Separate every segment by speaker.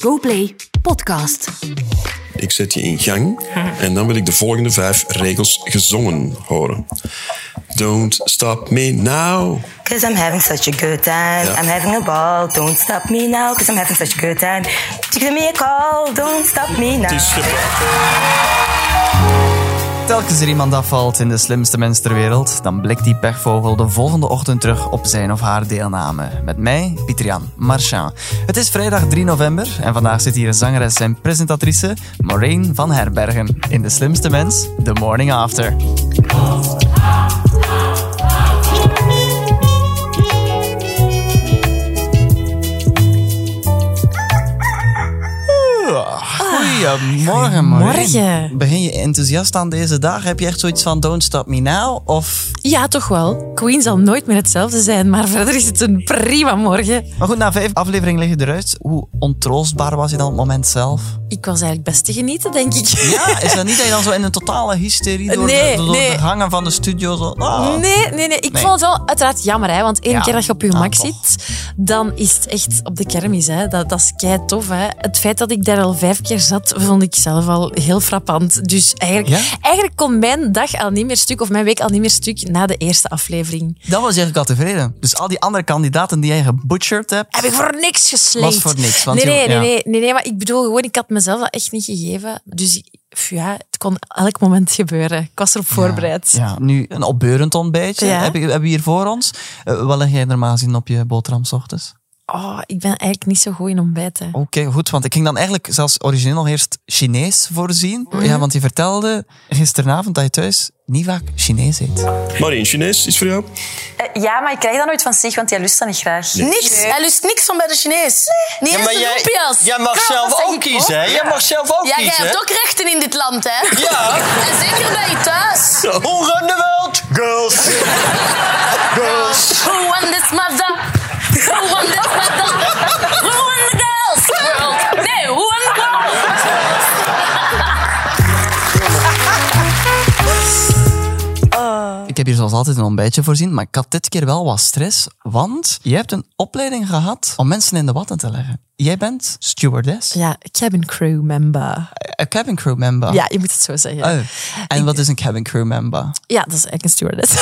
Speaker 1: GoPlay Podcast.
Speaker 2: Ik zet je in gang en dan wil ik de volgende vijf regels gezongen horen. Don't stop me now.
Speaker 3: Cause I'm having such a good time.
Speaker 2: Ja.
Speaker 3: I'm having a ball. Don't stop me now. Cause I'm having such a good time. Give me a call. Don't stop me now.
Speaker 2: Het is gebeurd.
Speaker 4: Telkens er iemand afvalt in de slimste mens ter wereld, dan blikt die pechvogel de volgende ochtend terug op zijn of haar deelname. Met mij, Pietrian Marchand. Het is vrijdag 3 november en vandaag zit hier zangeres en presentatrice Maureen van Herbergen in de slimste mens, The Morning After. Goedemorgen, Maureen.
Speaker 5: Goedemorgen.
Speaker 4: Begin je enthousiast aan deze dag? Heb je echt zoiets van Don't Stop Me Now? Of...
Speaker 5: Ja, toch wel. Queen zal nooit meer hetzelfde zijn, maar verder is het een prima morgen.
Speaker 4: Maar goed, na vijf afleveringen lig je eruit. Hoe ontroostbaar was je dan op het moment zelf?
Speaker 5: Ik was eigenlijk best te genieten, denk ik.
Speaker 4: Ja, is dat niet dat je dan zo in een totale hysterie door,
Speaker 5: Nee,
Speaker 4: de, door
Speaker 5: nee.
Speaker 4: de hangen van de studio zo... ah.
Speaker 5: Nee, nee, nee. Ik
Speaker 4: Nee.
Speaker 5: vond het wel uiteraard jammer, hè, want één
Speaker 4: Ja.
Speaker 5: keer dat je op je
Speaker 4: Ah,
Speaker 5: gemak
Speaker 4: toch.
Speaker 5: zit, dan is het echt op de kermis. Hè. Dat, dat is kei tof. Hè. Het feit dat ik daar al vijf keer zat, vond ik zelf al heel frappant. Dus eigenlijk,
Speaker 4: Ja?
Speaker 5: eigenlijk kon mijn dag al niet meer stuk, of mijn week al niet meer stuk, na de eerste aflevering.
Speaker 4: Dan was je eigenlijk al tevreden. Dus al die andere kandidaten die jij gebutcherd hebt...
Speaker 5: Heb ik voor niks gesleept.
Speaker 4: Was voor niks, want
Speaker 5: nee,
Speaker 4: je-
Speaker 5: nee, nee,
Speaker 4: ja.
Speaker 5: nee, nee, nee, maar ik bedoel gewoon, ik had mezelf dat echt niet gegeven. Dus ik- pff, ja, het kon elk moment gebeuren. Ik was erop voorbereid.
Speaker 4: Ja, nu een opbeurend ontbijtje
Speaker 5: Ja.
Speaker 4: heb je- hebben we hier voor ons. Eh, wat leg jij normaal gezien op je boterham s ochtends?
Speaker 5: Oh, ik ben eigenlijk niet zo goed in ontbijten.
Speaker 4: Oké, goed, want ik ging dan eigenlijk zelfs origineel nog eerst Chinees voorzien.
Speaker 5: Mhm.
Speaker 4: Ja, want je vertelde gisteravond dat je thuis niet vaak Chinees eet.
Speaker 2: Marien, Chinees is voor jou.
Speaker 5: Ja, maar ik krijg dat nooit van zich, want jij lust dat niet graag.
Speaker 6: Niks. Hij lust niks van bij de Chinees. Niet
Speaker 7: Ja,
Speaker 6: eens
Speaker 7: maar
Speaker 6: de
Speaker 7: jij,
Speaker 6: loempia's.
Speaker 7: jij mag
Speaker 6: Ja, dat
Speaker 7: zelf
Speaker 6: zeg
Speaker 7: ook
Speaker 6: ik
Speaker 7: kiezen, hè? Jij mag zelf ook
Speaker 6: Ja, jij
Speaker 7: kiezen.
Speaker 6: hebt ook rechten in dit land, hè?
Speaker 7: Ja.
Speaker 6: En zeker bij je thuis.
Speaker 7: Hoe run de wereld? Girls. Girls.
Speaker 6: Who won this mother? Who won this mother? Who won the girls? World? Nee, who won the girls?
Speaker 4: Ik heb hier zoals altijd een ontbijtje voorzien, maar ik had dit keer wel wat stress, want je hebt een opleiding gehad om mensen in de watten te leggen. Jij bent stewardess,
Speaker 5: Ja, cabin crew member.
Speaker 4: een cabin crew member.
Speaker 5: Ja, je moet het zo zeggen.
Speaker 4: Oh, En wat is een cabin crew member?
Speaker 5: Ja, dat is eigenlijk een stewardess.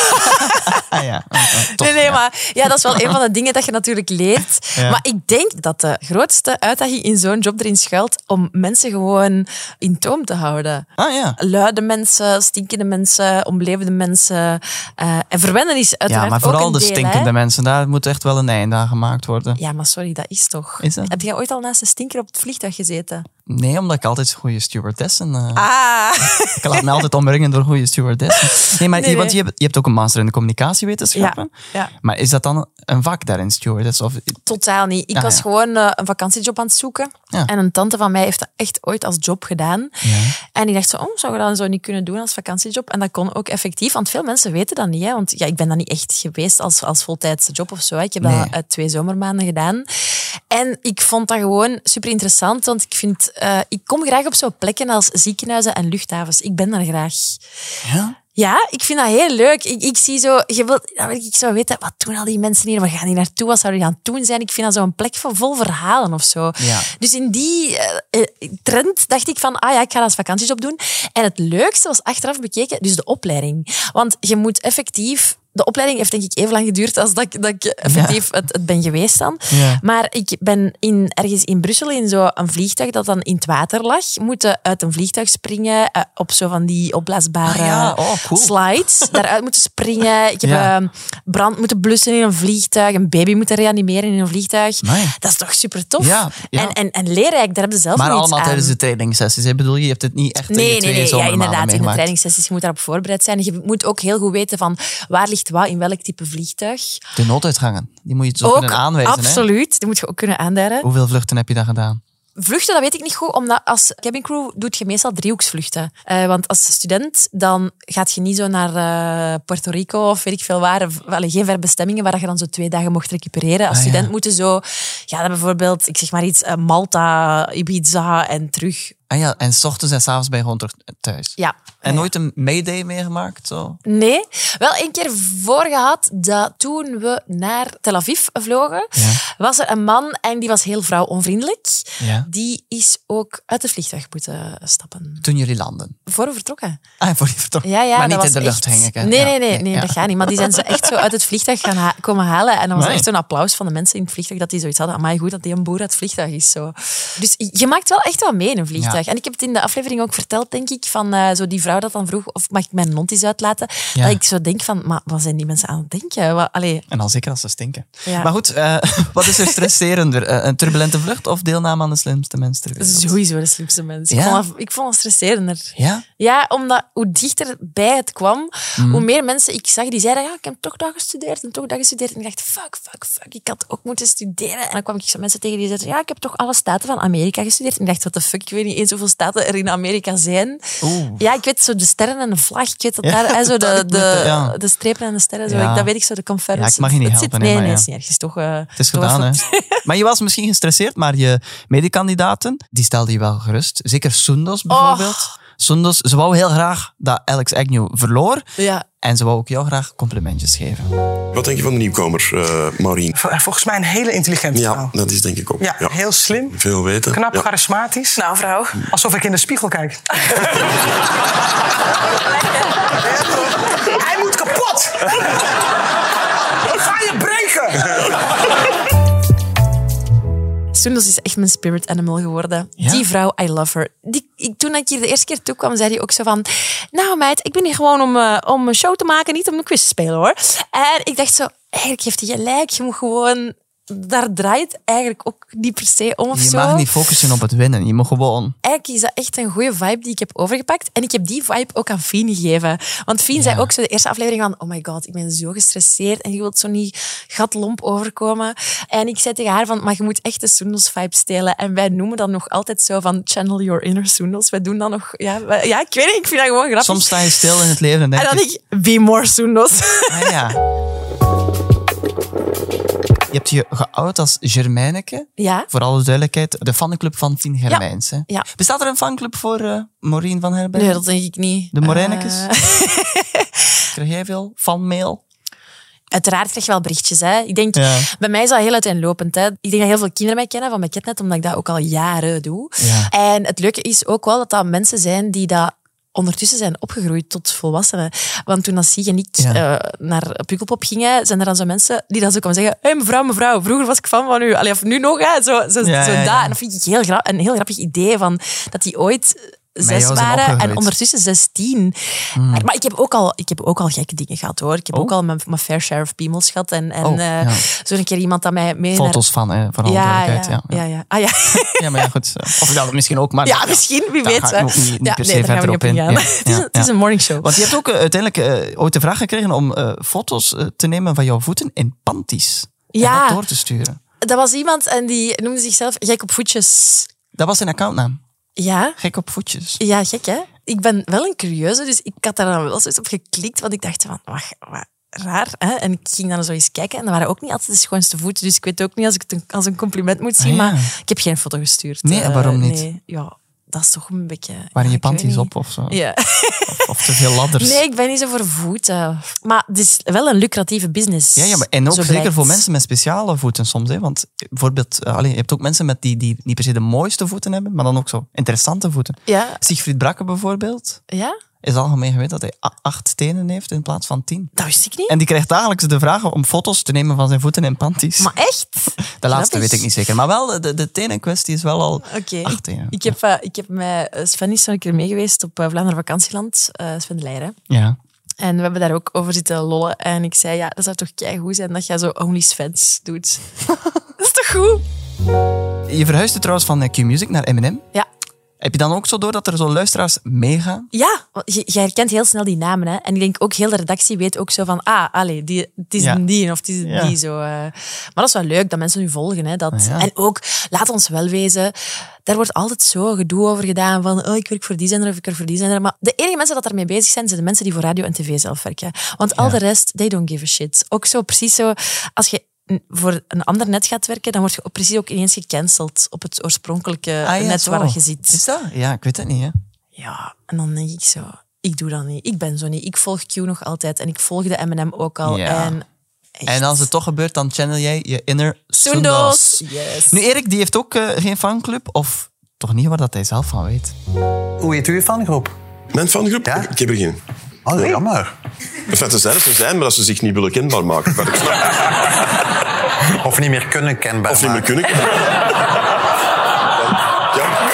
Speaker 4: Ah ja, oh, oh, tof,
Speaker 5: nee, nee,
Speaker 4: ja.
Speaker 5: maar ja, dat is wel een van de dingen dat je natuurlijk leert.
Speaker 4: Ja.
Speaker 5: Maar ik denk dat de grootste uitdaging in zo'n job erin schuilt om mensen gewoon in toom te houden.
Speaker 4: Ah ja.
Speaker 5: Luide mensen, stinkende mensen, omlevende mensen. eh, en verwennen is uiteraard
Speaker 4: Ja, maar
Speaker 5: ook
Speaker 4: vooral
Speaker 5: een
Speaker 4: de
Speaker 5: deel,
Speaker 4: stinkende
Speaker 5: hè.
Speaker 4: mensen, daar moet echt wel een einde aan gemaakt worden.
Speaker 5: Ja, maar sorry, dat is toch.
Speaker 4: Is dat?
Speaker 5: Heb jij ooit al naast een stinker op het vliegtuig gezeten?
Speaker 4: Nee, omdat ik altijd goede stewardessen... eh,
Speaker 5: Ah!
Speaker 4: Ik laat me altijd omringen door goede stewardessen. Nee, maar
Speaker 5: Nee,
Speaker 4: je-
Speaker 5: nee.
Speaker 4: Want je, hebt, je hebt ook een master in de communicatiewetenschappen.
Speaker 5: Ja, ja.
Speaker 4: Maar is dat dan een vak daarin, stewardess? Of,
Speaker 5: Totaal niet. Ik
Speaker 4: Ah,
Speaker 5: was
Speaker 4: ja.
Speaker 5: gewoon eh, een vakantiejob aan het zoeken.
Speaker 4: Ja.
Speaker 5: En een tante van mij heeft dat echt ooit als job gedaan. En die dacht zo, oh, zou je dat zo niet kunnen doen als vakantiejob? En dat kon ook effectief, want veel mensen weten dat niet. Hè? Want ja, ik ben dat niet echt geweest als, als voltijdse job of zo. hè. Ik heb
Speaker 4: Nee.
Speaker 5: dat eh, twee zomermaanden gedaan. En ik vond dat gewoon super interessant, want ik vind, eh, ik kom graag op zo'n plekken als ziekenhuizen en luchthavens. Ik ben daar graag.
Speaker 4: ja?
Speaker 5: Ja, ik vind dat heel leuk. Ik, ik zie zo, je wilt, dan wil ik zo weten, wat doen al die mensen hier? Waar gaan die naartoe? Wat zouden die aan het doen zijn? Ik vind dat zo'n plek van vol verhalen of zo.
Speaker 4: Ja.
Speaker 5: Dus in die eh, eh, trend dacht ik van, ah ja, ik ga dat als vakantiejob doen. En het leukste was achteraf bekeken, dus de opleiding. Want je moet effectief... De opleiding heeft denk ik even lang geduurd als dat ik, dat ik effectief het, het ben geweest dan.
Speaker 4: Ja.
Speaker 5: Maar ik ben in, ergens in Brussel in zo'n vliegtuig dat dan in het water lag, moeten uit een vliegtuig springen eh, op zo van die opblaasbare
Speaker 4: Ah ja, oh, cool.
Speaker 5: eh, slides. Daaruit moeten springen. Ik heb
Speaker 4: Ja.
Speaker 5: eh, brand moeten blussen in een vliegtuig. Een baby moeten reanimeren in een vliegtuig.
Speaker 4: Amai.
Speaker 5: Dat is toch super tof?
Speaker 4: Ja, ja.
Speaker 5: En, en, en leerrijk, daar heb je zelf
Speaker 4: Maar
Speaker 5: nog iets
Speaker 4: allemaal
Speaker 5: aan.
Speaker 4: tijdens de trainingssessies. hè? Ik bedoel, je hebt het niet echt in
Speaker 5: Ehm, Nee,
Speaker 4: je
Speaker 5: nee,
Speaker 4: twee
Speaker 5: nee. Ja,
Speaker 4: zomermaanden
Speaker 5: inderdaad. In de
Speaker 4: meegemaakt.
Speaker 5: trainingssessies je moet daarop voorbereid zijn. Je moet ook heel goed weten van waar ligt wat in welk type vliegtuig.
Speaker 4: De nooduitgangen, die moet je zo
Speaker 5: ook
Speaker 4: kunnen aanwijzen. hè?
Speaker 5: absoluut. Die moet je ook kunnen aanduiden.
Speaker 4: Hoeveel vluchten heb je daar gedaan?
Speaker 5: Vluchten, dat weet ik niet goed, omdat als cabincrew doet je meestal driehoeksvluchten. Eh, want als student, dan gaat je niet zo naar eh, Puerto Rico of weet ik veel waar. Of, welle, geen ver bestemmingen waar je dan zo twee dagen mocht recupereren. Als
Speaker 4: Ah, ja.
Speaker 5: student moeten zo, ja, dan bijvoorbeeld, ik zeg maar iets, eh, Malta, Ibiza en terug.
Speaker 4: En Ah ja, en 's ochtends en 's avonds ben je gewoon terug thuis.
Speaker 5: Ja.
Speaker 4: En nooit een mayday meegemaakt? Zo.
Speaker 5: Nee, wel een keer voor gehad dat toen we naar Tel Aviv vlogen,
Speaker 4: Ja.
Speaker 5: was er een man en die was heel vrouwonvriendelijk.
Speaker 4: Ja.
Speaker 5: Die is ook uit de vliegtuig moeten stappen.
Speaker 4: Toen jullie landen.
Speaker 5: Voor we vertrokken.
Speaker 4: Ah, voor die vertrokken.
Speaker 5: Ja, ja,
Speaker 4: maar niet
Speaker 5: dat
Speaker 4: in de
Speaker 5: was
Speaker 4: lucht
Speaker 5: echt-
Speaker 4: hangen. hè?
Speaker 5: Nee,
Speaker 4: Ja,
Speaker 5: nee, nee, nee
Speaker 4: ja.
Speaker 5: dat gaat niet. Maar die zijn ze echt zo uit het vliegtuig gaan ha- komen halen. En dan was er
Speaker 4: Nee.
Speaker 5: echt zo'n applaus van de mensen in het vliegtuig dat die zoiets hadden. Amai, goed dat die een boer uit het vliegtuig is. Zo. Dus je maakt wel echt wat mee in een vliegtuig. En ik heb het in de aflevering ook verteld, denk ik, van eh, zo die vrouw dat dan vroeg of mag ik mijn mond eens uitlaten.
Speaker 4: Ja.
Speaker 5: Dat ik zo denk van, maar wat zijn die mensen aan het denken? Wat, allee,
Speaker 4: En dan zeker als ze stinken.
Speaker 5: Ja.
Speaker 4: Maar goed, eh, wat is er stresserender? Eh, een turbulente vlucht of deelname aan de slimste mensen ter wereld?
Speaker 5: sowieso de slimste mensen.
Speaker 4: Ja?
Speaker 5: Ik, vond dat, ik vond dat stresserender.
Speaker 4: Ja?
Speaker 5: Ja, omdat hoe dichterbij het kwam,
Speaker 4: Hmm.
Speaker 5: hoe meer mensen ik zag die zeiden, ja, ik heb toch dat gestudeerd en toch dat gestudeerd. En ik dacht, fuck, fuck, fuck, ik had ook moeten studeren. En dan kwam ik zo mensen tegen die zeiden, ja, ik heb toch alle staten van Amerika gestudeerd. En ik dacht, what the fuck, ik weet niet eens hoeveel staten er in Amerika zijn. Ja, ik weet zo de sterren en de vlag, ik weet dat
Speaker 4: Ja,
Speaker 5: daar, hè, zo
Speaker 4: dat
Speaker 5: de,
Speaker 4: ik
Speaker 5: de,
Speaker 4: met de- ja.
Speaker 5: de strepen en de sterren, zo,
Speaker 4: Ja.
Speaker 5: ik, dat weet ik zo, de conferentie.
Speaker 4: Ja, ik mag je niet
Speaker 5: het
Speaker 4: helpen,
Speaker 5: zit,
Speaker 4: hè,
Speaker 5: nee,
Speaker 4: maar
Speaker 5: nee,
Speaker 4: ja.
Speaker 5: het is niet erg, het is toch... eh,
Speaker 4: Het is
Speaker 5: toch
Speaker 4: gedaan,
Speaker 5: wel-
Speaker 4: hè? Maar je was misschien gestresseerd, maar je medekandidaten, die stelden je wel gerust. Zeker Sundos bijvoorbeeld. Sundos, ze wou heel graag dat Alex Agnew verloor.
Speaker 5: Ja.
Speaker 4: En ze wou ook jou graag complimentjes geven.
Speaker 2: Wat denk je van de nieuwkomer, eh Maureen?
Speaker 7: Vol- Volgens mij een hele intelligente
Speaker 2: Ja,
Speaker 7: vrouw.
Speaker 2: dat is denk ik ook.
Speaker 7: Ja, heel slim.
Speaker 2: Veel weten.
Speaker 7: Knap,
Speaker 2: Ja.
Speaker 7: charismatisch.
Speaker 6: Nou, vrouw.
Speaker 7: Alsof ik in de spiegel kijk. Hij moet kapot! Ik ga je breken!
Speaker 5: Soendos is echt mijn spirit animal geworden.
Speaker 4: Ja?
Speaker 5: Die vrouw, I love her. Die, ik, toen ik hier de eerste keer toe kwam, zei hij ook zo van... Nou meid, ik ben hier gewoon om, eh, om een show te maken, niet om een quiz te spelen hoor. En ik dacht zo, eigenlijk heeft hij gelijk. Je moet gewoon... Daar draait het eigenlijk ook niet per se om of
Speaker 4: Je
Speaker 5: zo.
Speaker 4: mag niet focussen op het winnen. Je moet gewoon...
Speaker 5: Eigenlijk is dat echt een goede vibe die ik heb overgepakt. En ik heb die vibe ook aan Fien gegeven. Want Fien zei ook zo de eerste aflevering van... Oh my god, ik ben zo gestresseerd en je wilt zo niet gatlomp overkomen. En ik zei tegen haar van... Maar je moet echt de Soendels vibe stelen. En wij noemen dat nog altijd zo van... Channel your inner Soendels. Wij doen dat nog... Ja, wij- ja, ik weet niet. Ik vind dat gewoon grappig.
Speaker 4: Soms sta je stil in het leven en denk
Speaker 5: En dan
Speaker 4: je-
Speaker 5: ik... Be more Soendels.
Speaker 4: Ah, ja. Je hebt je geout als Germijneke.
Speaker 5: Ja.
Speaker 4: Voor alle duidelijkheid, de fanclub van Fien Germijns. hè?
Speaker 5: Ja.
Speaker 4: Bestaat er een fanclub voor eh Maureen van Herberg?
Speaker 5: Nee, dat denk ik niet.
Speaker 4: De Morijnekes?
Speaker 5: Eh,
Speaker 4: Krijg jij veel fanmail?
Speaker 5: Uiteraard krijg je wel berichtjes. Hè. Ik denk,
Speaker 4: Ja.
Speaker 5: bij mij is dat heel uiteenlopend. Hè. Ik denk dat heel veel kinderen mij kennen van mijn kitnet, omdat ik dat ook al jaren doe.
Speaker 4: Ja.
Speaker 5: En het leuke is ook wel dat dat mensen zijn die dat ondertussen zijn opgegroeid tot volwassenen. Want toen als Sieg en ik
Speaker 4: Ja.
Speaker 5: eh, naar Pukkelpop gingen, zijn er dan zo mensen die dan zo komen zeggen hey, mevrouw, mevrouw, vroeger was ik fan van u. Allee, of nu nog, hè. Zo, zo,
Speaker 4: Ja,
Speaker 5: zo
Speaker 4: ja,
Speaker 5: dat.
Speaker 4: ja.
Speaker 5: En dat vind ik heel gra- een heel grappig idee van dat die ooit
Speaker 4: jou
Speaker 5: zes
Speaker 4: zijn
Speaker 5: waren en
Speaker 4: opgegroeid.
Speaker 5: ondertussen zestien.
Speaker 4: Hmm.
Speaker 5: Maar, maar ik, heb ook al, ik heb ook al gekke dingen gehad, hoor. Ik heb ook al mijn, mijn fair share of piemels gehad. En, en
Speaker 4: Oh,
Speaker 5: eh,
Speaker 4: ja.
Speaker 5: zo'n keer iemand dat mij mee... naar-
Speaker 4: Foto's van, hè, voor alle
Speaker 5: ja, ja,
Speaker 4: duidelijkheid. Ja, ja.
Speaker 5: ja, ja. Ah, ja.
Speaker 4: Ja, maar ja, goed. eh, Of dat misschien ook, maar...
Speaker 5: Ja, misschien, wie
Speaker 4: Daar
Speaker 5: weet.
Speaker 4: ga ik
Speaker 5: hè.
Speaker 4: ook niet, niet
Speaker 5: Ja,
Speaker 4: per se
Speaker 5: nee, daar gaan
Speaker 4: verder
Speaker 5: we
Speaker 4: op
Speaker 5: niet
Speaker 4: in.
Speaker 5: gaan.
Speaker 4: Ja,
Speaker 5: het, is,
Speaker 4: ja,
Speaker 5: een- het is
Speaker 4: ja.
Speaker 5: een morningshow.
Speaker 4: Want je hebt ook eh, uiteindelijk eh, ooit de vraag gekregen om eh, foto's eh, te nemen van jouw voeten in panties. En
Speaker 5: Ja.
Speaker 4: dat door te sturen.
Speaker 5: Dat was iemand en die noemde zichzelf gek op voetjes.
Speaker 4: Dat was zijn accountnaam.
Speaker 5: Ja,
Speaker 4: Gek op voetjes.
Speaker 5: ja gek hè? Ik ben wel een curieuze, dus ik had daar dan wel zoiets op geklikt, want ik dacht van, wacht, wat raar. Hè? En ik ging dan zo eens kijken en dat waren ook niet altijd de schoonste voeten, dus ik weet ook niet als ik het een- als een compliment moet zien,
Speaker 4: Ah, ja.
Speaker 5: maar ik heb geen foto gestuurd.
Speaker 4: Nee, en
Speaker 5: Eh,
Speaker 4: waarom niet?
Speaker 5: Nee, ja, dat is toch een beetje...
Speaker 4: Waren je
Speaker 5: ik weet
Speaker 4: panties
Speaker 5: niet.
Speaker 4: op eh, dus- of zo?
Speaker 5: Ja.
Speaker 4: Of te veel ladders?
Speaker 5: Nee, ik ben niet zo voor voeten. Maar het is wel een lucratieve business.
Speaker 4: Ja, ja maar en ook
Speaker 5: zo
Speaker 4: zeker
Speaker 5: blijkt.
Speaker 4: voor mensen met speciale voeten soms. Hè? Want bijvoorbeeld, eh, allee, je hebt ook mensen met die, die niet per se de mooiste voeten hebben, maar dan ook zo interessante voeten.
Speaker 5: Ja,
Speaker 4: Siegfried Brakke bijvoorbeeld
Speaker 5: ja?
Speaker 4: is algemeen geweten dat hij a- acht tenen heeft in plaats van tien.
Speaker 5: dat wist ik niet.
Speaker 4: En die krijgt dagelijks de vragen om foto's te nemen van zijn voeten en panties.
Speaker 5: Maar echt?
Speaker 4: de laatste
Speaker 5: grappig.
Speaker 4: weet ik niet zeker. Maar wel, de, de tenenkwestie is wel al
Speaker 5: Oké.
Speaker 4: acht tenen.
Speaker 5: Ik, ik heb, eh, ik heb met eh, Sven is een keer mee geweest op eh, Vlaanderen Vakantieland, eh, Sven de Leijden.
Speaker 4: Ja.
Speaker 5: En we hebben daar ook over zitten lollen. En ik zei, ja, dat zou toch keigoed zijn dat jij zo OnlyFans doet. dat is toch goed?
Speaker 4: Je verhuisde trouwens van eh, Q-Music naar M&M.
Speaker 5: Ja.
Speaker 4: Heb je dan ook zo door dat er zo luisteraars meegaan?
Speaker 5: Ja, want je, je herkent heel snel die namen. Hè? En ik denk ook heel de redactie weet ook zo van... Ah, allee, die, het is
Speaker 4: Ja.
Speaker 5: een die of het is een
Speaker 4: Ja. Ah,
Speaker 5: die. Zo, eh. Maar dat is wel leuk dat mensen nu volgen. Hè, dat.
Speaker 4: Ja.
Speaker 5: En ook, laat ons wel wezen... Daar wordt altijd zo gedoe over gedaan van... Oh, ik werk voor die zender of ik werk voor die zender. Maar de enige mensen dat daarmee bezig zijn, zijn de mensen die voor radio en tv zelf werken. Want al de rest, they don't give a shit. Ook zo precies zo... Als je n- voor een ander net gaat werken, dan word je ook precies ook ineens gecanceld op het oorspronkelijke
Speaker 4: Ah, ja,
Speaker 5: net
Speaker 4: zo.
Speaker 5: waar je
Speaker 4: Is
Speaker 5: zit.
Speaker 4: dat? Ja, ik weet het niet. Hè.
Speaker 5: Ja, en dan denk ik zo, ik doe dat niet. Ik ben zo niet. Ik volg Q nog altijd en ik volgde M&M ook al.
Speaker 4: Ja.
Speaker 5: En,
Speaker 4: En als het toch gebeurt, dan channel jij je inner
Speaker 5: Soendos.
Speaker 4: Soendos.
Speaker 5: Yes.
Speaker 4: Nu, Erik, die heeft ook eh, geen fanclub. Of toch niet waar dat hij zelf van weet.
Speaker 8: Hoe heet uw fangroep?
Speaker 2: Mijn fangroep?
Speaker 8: Ja?
Speaker 2: Ik heb er geen.
Speaker 8: Oh, jammer.
Speaker 2: Enfin, te zijn dat ze zijn, maar dat ze zich niet willen kenbaar maken. Wat ik snap.
Speaker 8: Of niet meer kunnen kenbaar
Speaker 2: Of niet meer
Speaker 8: maken.
Speaker 2: kunnen. Ja.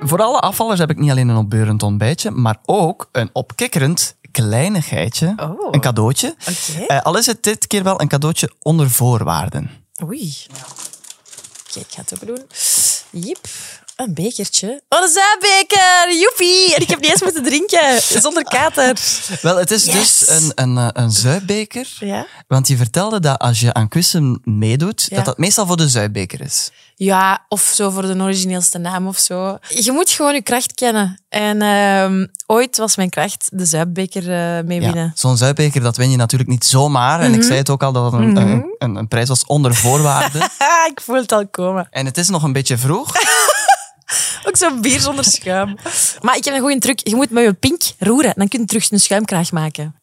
Speaker 4: Voor alle afvallers heb ik niet alleen een opbeurend ontbijtje, maar ook een opkikkerend kleinigheidje.
Speaker 5: Oh.
Speaker 4: Een cadeautje.
Speaker 5: Oké.
Speaker 4: Eh, al is het dit keer wel een cadeautje onder voorwaarden.
Speaker 5: Oei. Kijk, ik ga het open doen. Jip. Een bekertje. Oh, dat is een beker! Joepie! En ik heb niet eens moeten drinken. Zonder kater.
Speaker 4: Wel, het is
Speaker 5: Yes.
Speaker 4: dus een, een, eh, een zuipbeker.
Speaker 5: Ja.
Speaker 4: Want je vertelde dat als je aan kussen meedoet,
Speaker 5: Ja.
Speaker 4: dat dat meestal voor de zuipbeker is.
Speaker 5: Ja, of zo voor de origineelste naam of zo. Je moet gewoon je kracht kennen. En ehm, ooit was mijn kracht de zuipbeker eh, mee
Speaker 4: Ja.
Speaker 5: winnen.
Speaker 4: Zo'n zuipbeker, dat win je natuurlijk niet zomaar. En
Speaker 5: Mhm.
Speaker 4: ik zei het ook al, dat het een, een, een, een prijs was onder voorwaarden.
Speaker 5: Ah, ik voel het al komen.
Speaker 4: en het is nog een beetje vroeg.
Speaker 5: Ook zo'n bier zonder schuim. Maar ik heb een goede truc. Je moet met je pink roeren. Dan kun je terug een schuimkraag maken.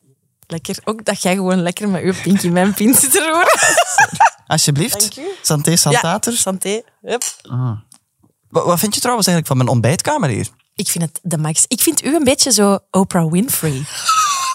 Speaker 5: Lekker. Ook dat jij gewoon lekker met je pink in mijn pint zit te roeren.
Speaker 4: Alsjeblieft. Santé, santater.
Speaker 5: Ja, santé. Hup.
Speaker 4: Wa- Wat vind je trouwens eigenlijk van mijn ontbijtkamer hier?
Speaker 5: Ik vind het de max. Ik vind u een beetje zo Oprah Winfrey.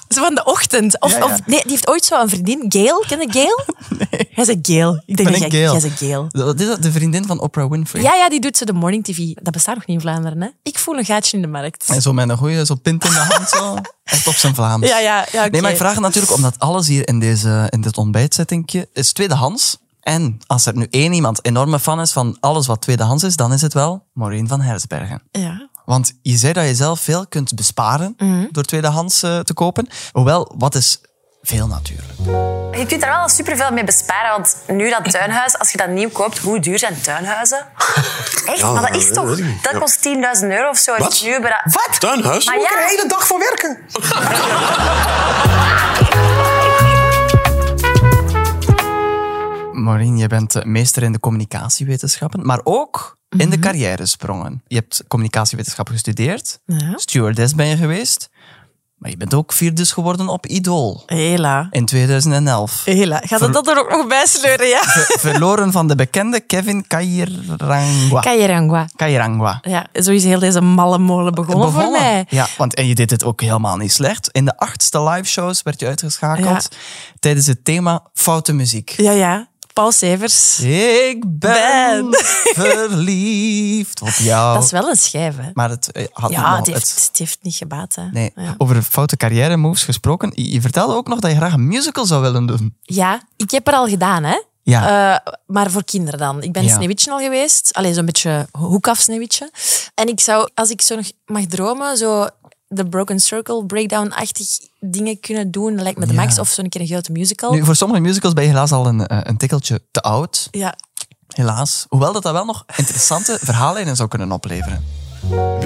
Speaker 5: Zo van de ochtend. Of,
Speaker 4: Ja, ja.
Speaker 5: of nee, die heeft ooit zo een vriendin. Gail, ken je Gail? Hij is een Gail. Ik denk
Speaker 4: ben een
Speaker 5: dat jij,
Speaker 4: Gail.
Speaker 5: jij is een Gail.
Speaker 4: Dat is dat de vriendin van Oprah Winfrey.
Speaker 5: Ja, ja, die doet zo de morning tv. Dat bestaat nog niet in Vlaanderen, hè? Ik voel een gaatje in de markt.
Speaker 4: En zo met een goeie zo pint in de hand. Zo. Echt op zijn Vlaams.
Speaker 5: Ja, ja, ja. oké.
Speaker 4: dus- Nee, maar ik vraag het natuurlijk omdat alles hier in, deze, in dit ontbijtzettingje is tweedehands. En als er nu één iemand enorme fan is van alles wat tweedehands is, dan is het wel Maureen van Hersbergen.
Speaker 5: Ja.
Speaker 4: Want je zei dat je zelf veel kunt besparen door tweedehands eh, te kopen. Hoewel, wat is veel natuurlijk?
Speaker 6: Je kunt daar wel superveel mee besparen, want nu dat tuinhuis, als je dat nieuw koopt, hoe duur zijn tuinhuizen? Echt?
Speaker 2: Ja,
Speaker 6: maar dat is
Speaker 2: dat
Speaker 6: toch...
Speaker 2: weet ik niet.
Speaker 6: Dat
Speaker 2: Ja.
Speaker 6: kost 10.000 euro of zo.
Speaker 2: Wat?
Speaker 6: Nu hebben we dat-
Speaker 7: Wat?
Speaker 2: Tuinhuis?
Speaker 6: Maar
Speaker 7: Moet ik er
Speaker 6: ja.
Speaker 7: een hele dag voor werken?
Speaker 4: Maureen, je bent eh, meester in de communicatiewetenschappen, maar ook in de carrière sprongen. Je hebt communicatiewetenschappen gestudeerd,
Speaker 5: Ja.
Speaker 4: stewardess ben je geweest, maar je bent ook vierdes geworden op Idol
Speaker 5: Hela.
Speaker 4: in 2011.
Speaker 5: Hela. Gaat
Speaker 4: Ver-
Speaker 5: dat er ook nog bij sleuren, ja?
Speaker 4: Ver- verloren van de bekende Kevin Kairangwa.
Speaker 5: Kayerangwa.
Speaker 4: Kairangwa.
Speaker 5: Ja, zo is heel deze malle molen begonnen, voor
Speaker 4: Begonnen.
Speaker 5: mij.
Speaker 4: Ja, want en je deed het ook helemaal niet slecht. In de achtste liveshows werd je uitgeschakeld tijdens het thema foute muziek.
Speaker 5: Ja, ja. Paul Severs.
Speaker 4: Ik ben,
Speaker 5: Ben.
Speaker 4: verliefd op jou.
Speaker 5: Dat is wel een schijf, hè?
Speaker 4: Maar het eh, had nog
Speaker 5: Ja,
Speaker 4: wel
Speaker 5: het
Speaker 4: het-
Speaker 5: heeft, het heeft niet gebaat, hè?
Speaker 4: Nee,
Speaker 5: Ja.
Speaker 4: over foute carrière moves gesproken. Je je vertelde ook nog dat je graag een musical zou willen doen.
Speaker 5: Ja, ik heb er al gedaan, hè?
Speaker 4: Ja.
Speaker 5: Eh, maar voor kinderen dan. Ik ben
Speaker 4: Ja.
Speaker 5: Sneeuwwitje al geweest. Alleen zo'n beetje hoekaf Sneeuwwitje. En ik zou, als ik zo nog mag dromen, zo de Broken Circle breakdown-achtig dingen kunnen doen. Dat lijkt me de
Speaker 4: Ja.
Speaker 5: max. Of zo'n keer een grote musical.
Speaker 4: Nu, voor sommige musicals ben je helaas al een, eh, een tikkeltje te oud.
Speaker 5: Ja.
Speaker 4: Helaas. Hoewel dat dat wel nog interessante verhaallijnen zou kunnen opleveren.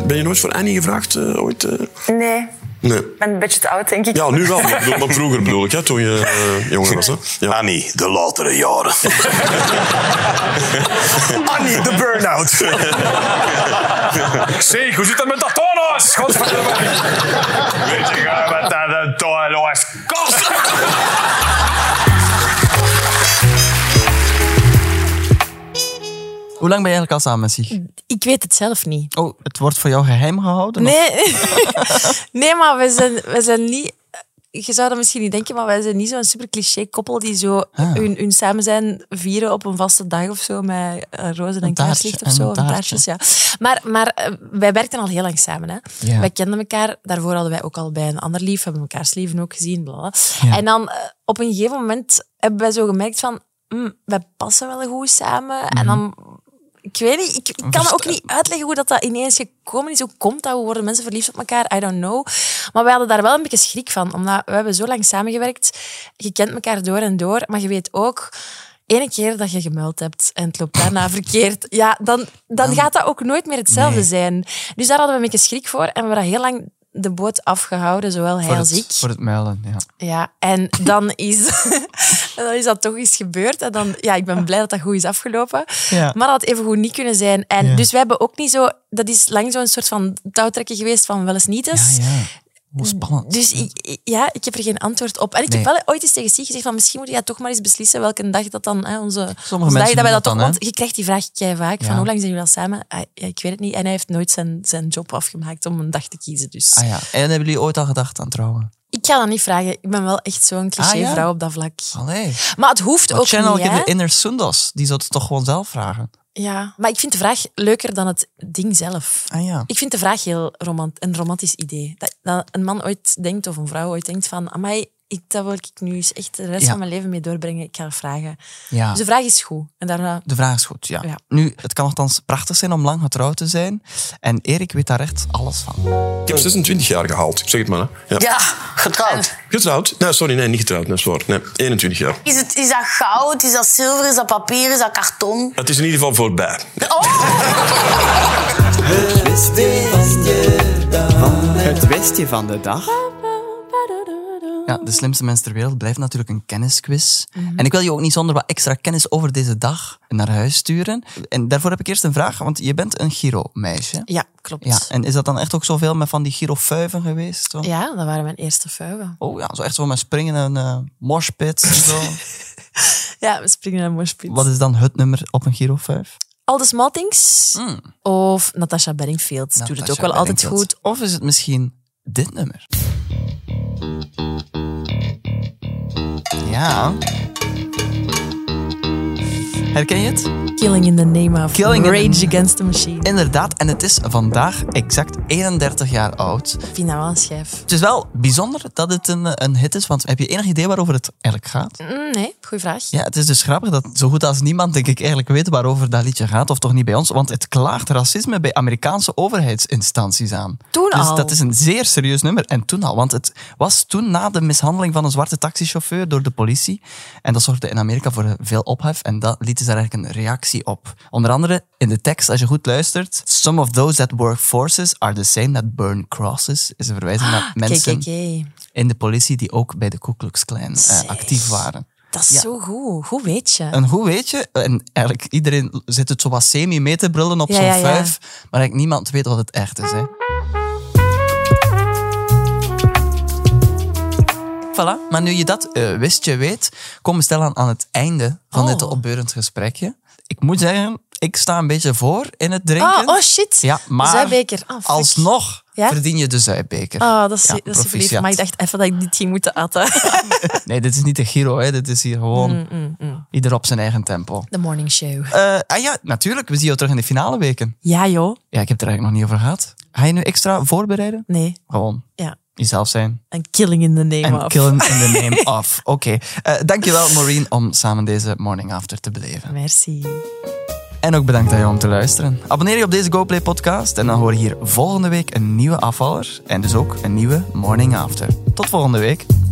Speaker 2: Ben je nooit voor Annie gevraagd eh, ooit? eh?
Speaker 6: Nee, ik
Speaker 2: Nee.
Speaker 6: ben een beetje te oud, denk ik.
Speaker 2: Ja, nu wel. Maar, ik bedoel- maar vroeger bedoel ik, hè, toen je eh, jonger was. Hè? Ja.
Speaker 7: Annie, de latere jaren. Annie, de burn-out.
Speaker 9: Zeg, hoe zit het met dat toonhuis? Godverdomme. Weet je gewoon wat dat een toonhuis kost?
Speaker 4: Hoe lang ben je eigenlijk al samen met zich?
Speaker 5: Ik weet het zelf niet.
Speaker 4: Oh, het wordt voor jou geheim gehouden? of-
Speaker 5: Nee, nee maar we zijn, we zijn niet. Je zou dat misschien niet denken, maar wij zijn niet zo'n super cliché koppel die zo
Speaker 4: Ah.
Speaker 5: hun, hun samen zijn vieren op een vaste dag of zo met eh, rozen
Speaker 4: taartje
Speaker 5: en kaarslicht of
Speaker 4: en
Speaker 5: zo.
Speaker 4: een
Speaker 5: of
Speaker 4: taartje.
Speaker 5: taartjes, ja. Maar, maar eh, wij werkten al heel lang samen. Hè.
Speaker 4: Ja.
Speaker 5: Wij kenden elkaar. Daarvoor hadden wij ook al bij een ander lief, hebben elkaars lieven ook gezien. Bla bla. En dan eh, op een gegeven moment hebben wij zo gemerkt van, mm, wij passen wel goed samen.
Speaker 4: Mhm.
Speaker 5: En dan ik weet niet, ik, ik kan ook niet uitleggen hoe dat, dat ineens gekomen is. Hoe komt dat? Hoe worden mensen verliefd op elkaar? I don't know. Maar wij hadden daar wel een beetje schrik van, omdat we hebben zo lang samengewerkt. Je kent elkaar door en door, maar je weet ook... Ene keer dat je gemuild hebt en het loopt daarna verkeerd, ja, dan, dan gaat dat ook nooit meer hetzelfde zijn. Dus daar hadden we een beetje schrik voor en we hebben dat heel lang de boot afgehouden, zowel hij
Speaker 4: Voor
Speaker 5: als
Speaker 4: het,
Speaker 5: ik.
Speaker 4: voor het muilen, ja.
Speaker 5: Ja, en dan is, en dan is dat toch iets gebeurd. En dan, ja, ik ben blij dat dat goed is afgelopen.
Speaker 4: Ja.
Speaker 5: Maar dat had even goed niet kunnen zijn. En
Speaker 4: Ja.
Speaker 5: dus we hebben ook niet zo... Dat is lang zo'n soort van touwtrekken geweest van wel eens niet eens.
Speaker 4: Ah, ja. Hoe spannend.
Speaker 5: Dus ik, ik- ja, ik heb er geen antwoord op. En ik heb
Speaker 4: Nee.
Speaker 5: wel ooit eens tegen Sieg gezegd van misschien moet je toch maar eens beslissen welke dag dat dan hè, onze... onze
Speaker 4: mensen
Speaker 5: dag dat
Speaker 4: doen
Speaker 5: wij
Speaker 4: dat
Speaker 5: dat toch...
Speaker 4: dan, hè?
Speaker 5: Want je krijgt die vraag kei vaak
Speaker 4: Ja.
Speaker 5: van hoe lang zijn jullie al samen? Ah, ja, ik weet het niet. En hij heeft nooit zijn, zijn job afgemaakt om een dag te kiezen. Dus
Speaker 4: Ah ja, en hebben jullie ooit al gedacht aan trouwen?
Speaker 5: ik ga dat niet vragen. Ik ben wel echt zo'n cliché
Speaker 4: Ah, ja?
Speaker 5: vrouw op dat vlak.
Speaker 4: Allee.
Speaker 5: Maar het hoeft
Speaker 4: Wat
Speaker 5: ook
Speaker 4: channel
Speaker 5: niet,
Speaker 4: ik in
Speaker 5: hè?
Speaker 4: de inner Sundas? Die zou het toch gewoon zelf vragen?
Speaker 5: Ja. Maar ik vind de vraag leuker dan het ding zelf.
Speaker 4: Ah ja.
Speaker 5: Ik vind de vraag heel romant een romantisch idee. Dat, dat een man ooit denkt, of een vrouw ooit denkt van... Amai, ik, dat wil ik nu eens echt de rest
Speaker 4: Ja.
Speaker 5: van mijn leven mee doorbrengen. Ik ga het vragen.
Speaker 4: Ja.
Speaker 5: Dus de vraag is goed. En daarna...
Speaker 4: De vraag is goed, ja.
Speaker 5: Ja.
Speaker 4: Nu, het kan althans prachtig zijn om lang getrouwd te zijn. En Erik weet daar echt alles van.
Speaker 2: Ik heb 26 jaar gehaald. Ik zeg het maar. Hè. Ja.
Speaker 7: Ja, getrouwd.
Speaker 2: Getrouwd? Nee, sorry, nee, niet getrouwd. Nee, sorry. Nee, 21 jaar.
Speaker 10: Is, het, is dat goud? Is dat zilver? Is dat papier? Is dat karton?
Speaker 2: Het is in ieder geval voorbij.
Speaker 11: Het westje van de dag.
Speaker 4: Ja, de slimste mens ter wereld blijft natuurlijk een kennisquiz.
Speaker 5: Mhm.
Speaker 4: En ik wil je ook niet zonder wat extra kennis over deze dag naar huis sturen. En daarvoor heb ik eerst een vraag, want je bent een Giro-meisje.
Speaker 5: Ja, klopt.
Speaker 4: Ja,
Speaker 5: Ja,
Speaker 4: en is dat dan echt ook zoveel met van die Giro-fuiven geweest? Zo?
Speaker 5: dat waren mijn eerste vuiven.
Speaker 4: Oh ja, zo echt zo met springen en eh moshpits en zo.
Speaker 5: Ja, we springen naar Morspits.
Speaker 4: Wat is dan het nummer op een Giro 5?
Speaker 5: All the small things.
Speaker 4: Hmm.
Speaker 5: Of Natasha Bedingfield
Speaker 4: Nou,
Speaker 5: doet het ook wel altijd goed.
Speaker 4: Of is het misschien dit nummer? Ja. Herken je het?
Speaker 5: Killing in the name of
Speaker 4: Killing in the-
Speaker 5: Rage Against the Machine.
Speaker 4: Inderdaad, en het is vandaag exact 31 jaar oud.
Speaker 5: Ik vind dat wel een schijf.
Speaker 4: Het is wel bijzonder dat het een, een hit is, want heb je enig idee waarover het eigenlijk gaat?
Speaker 5: Mm, nee, goeie vraag.
Speaker 4: Ja, het is dus grappig dat zo goed als niemand, denk ik, eigenlijk weet waarover dat liedje gaat, of toch niet bij ons, want het klaagt racisme bij Amerikaanse overheidsinstanties aan.
Speaker 5: Toen
Speaker 4: dus
Speaker 5: al.
Speaker 4: dat is een zeer serieus nummer. En toen al, want het was toen na de mishandeling van een zwarte taxichauffeur door de politie. En dat zorgde in Amerika voor veel ophef en dat liet dus daar eigenlijk een reactie op. Onder andere in de tekst, als je goed luistert, Some of those that work forces are the same that burn crosses, is een verwijzing
Speaker 5: Ah,
Speaker 4: naar Ah, mensen
Speaker 5: KKK.
Speaker 4: in de politie die ook bij de Ku Klux Klan eh,
Speaker 5: Zeg.
Speaker 4: actief waren.
Speaker 5: Dat is zo goed. Hoe weet je?
Speaker 4: En hoe weet je, en eigenlijk iedereen zit het zo wat semi mee te brullen op
Speaker 5: Ja,
Speaker 4: zo'n
Speaker 5: ja, ja.
Speaker 4: vijf, maar eigenlijk niemand weet wat het echt is. Hè. Voilà, maar nu je dat eh, wist, je weet, komen we stilaan aan het einde van
Speaker 5: Oh.
Speaker 4: dit opbeurend gesprekje. Ik moet zeggen, ik sta een beetje voor in het drinken.
Speaker 5: Oh, oh shit.
Speaker 4: Ja, maar
Speaker 5: Zuibeker. Oh, fuck.
Speaker 4: alsnog
Speaker 5: Ja?
Speaker 4: verdien je de zuibeker.
Speaker 5: Oh, dat is,
Speaker 4: Ja,
Speaker 5: dat is super lief.
Speaker 4: proficiat.
Speaker 5: Maar ik dacht even dat ik dit ging moeten atten.
Speaker 4: Nee, dit is niet de Giro, hè. dit is hier gewoon
Speaker 5: Mm,
Speaker 4: ieder op zijn eigen tempo.
Speaker 5: The morning show.
Speaker 4: Eh, ah ja, natuurlijk. We zien jou terug in de finale weken.
Speaker 5: Ja, joh.
Speaker 4: Ja, ik heb het er eigenlijk nog niet over gehad. Ga je nu extra voorbereiden?
Speaker 5: Nee.
Speaker 4: Gewoon
Speaker 5: Ja.
Speaker 4: jezelf zijn.
Speaker 5: En killing in the name
Speaker 4: En
Speaker 5: of.
Speaker 4: killen in the name of. Oké. Eh, dankjewel Maureen om samen deze morning after te beleven.
Speaker 5: Merci.
Speaker 4: En ook bedankt aan jou om te luisteren. Abonneer je op deze GoPlay podcast en dan hoor je hier volgende week een nieuwe afvaller. En dus ook een nieuwe morning after. Tot volgende week.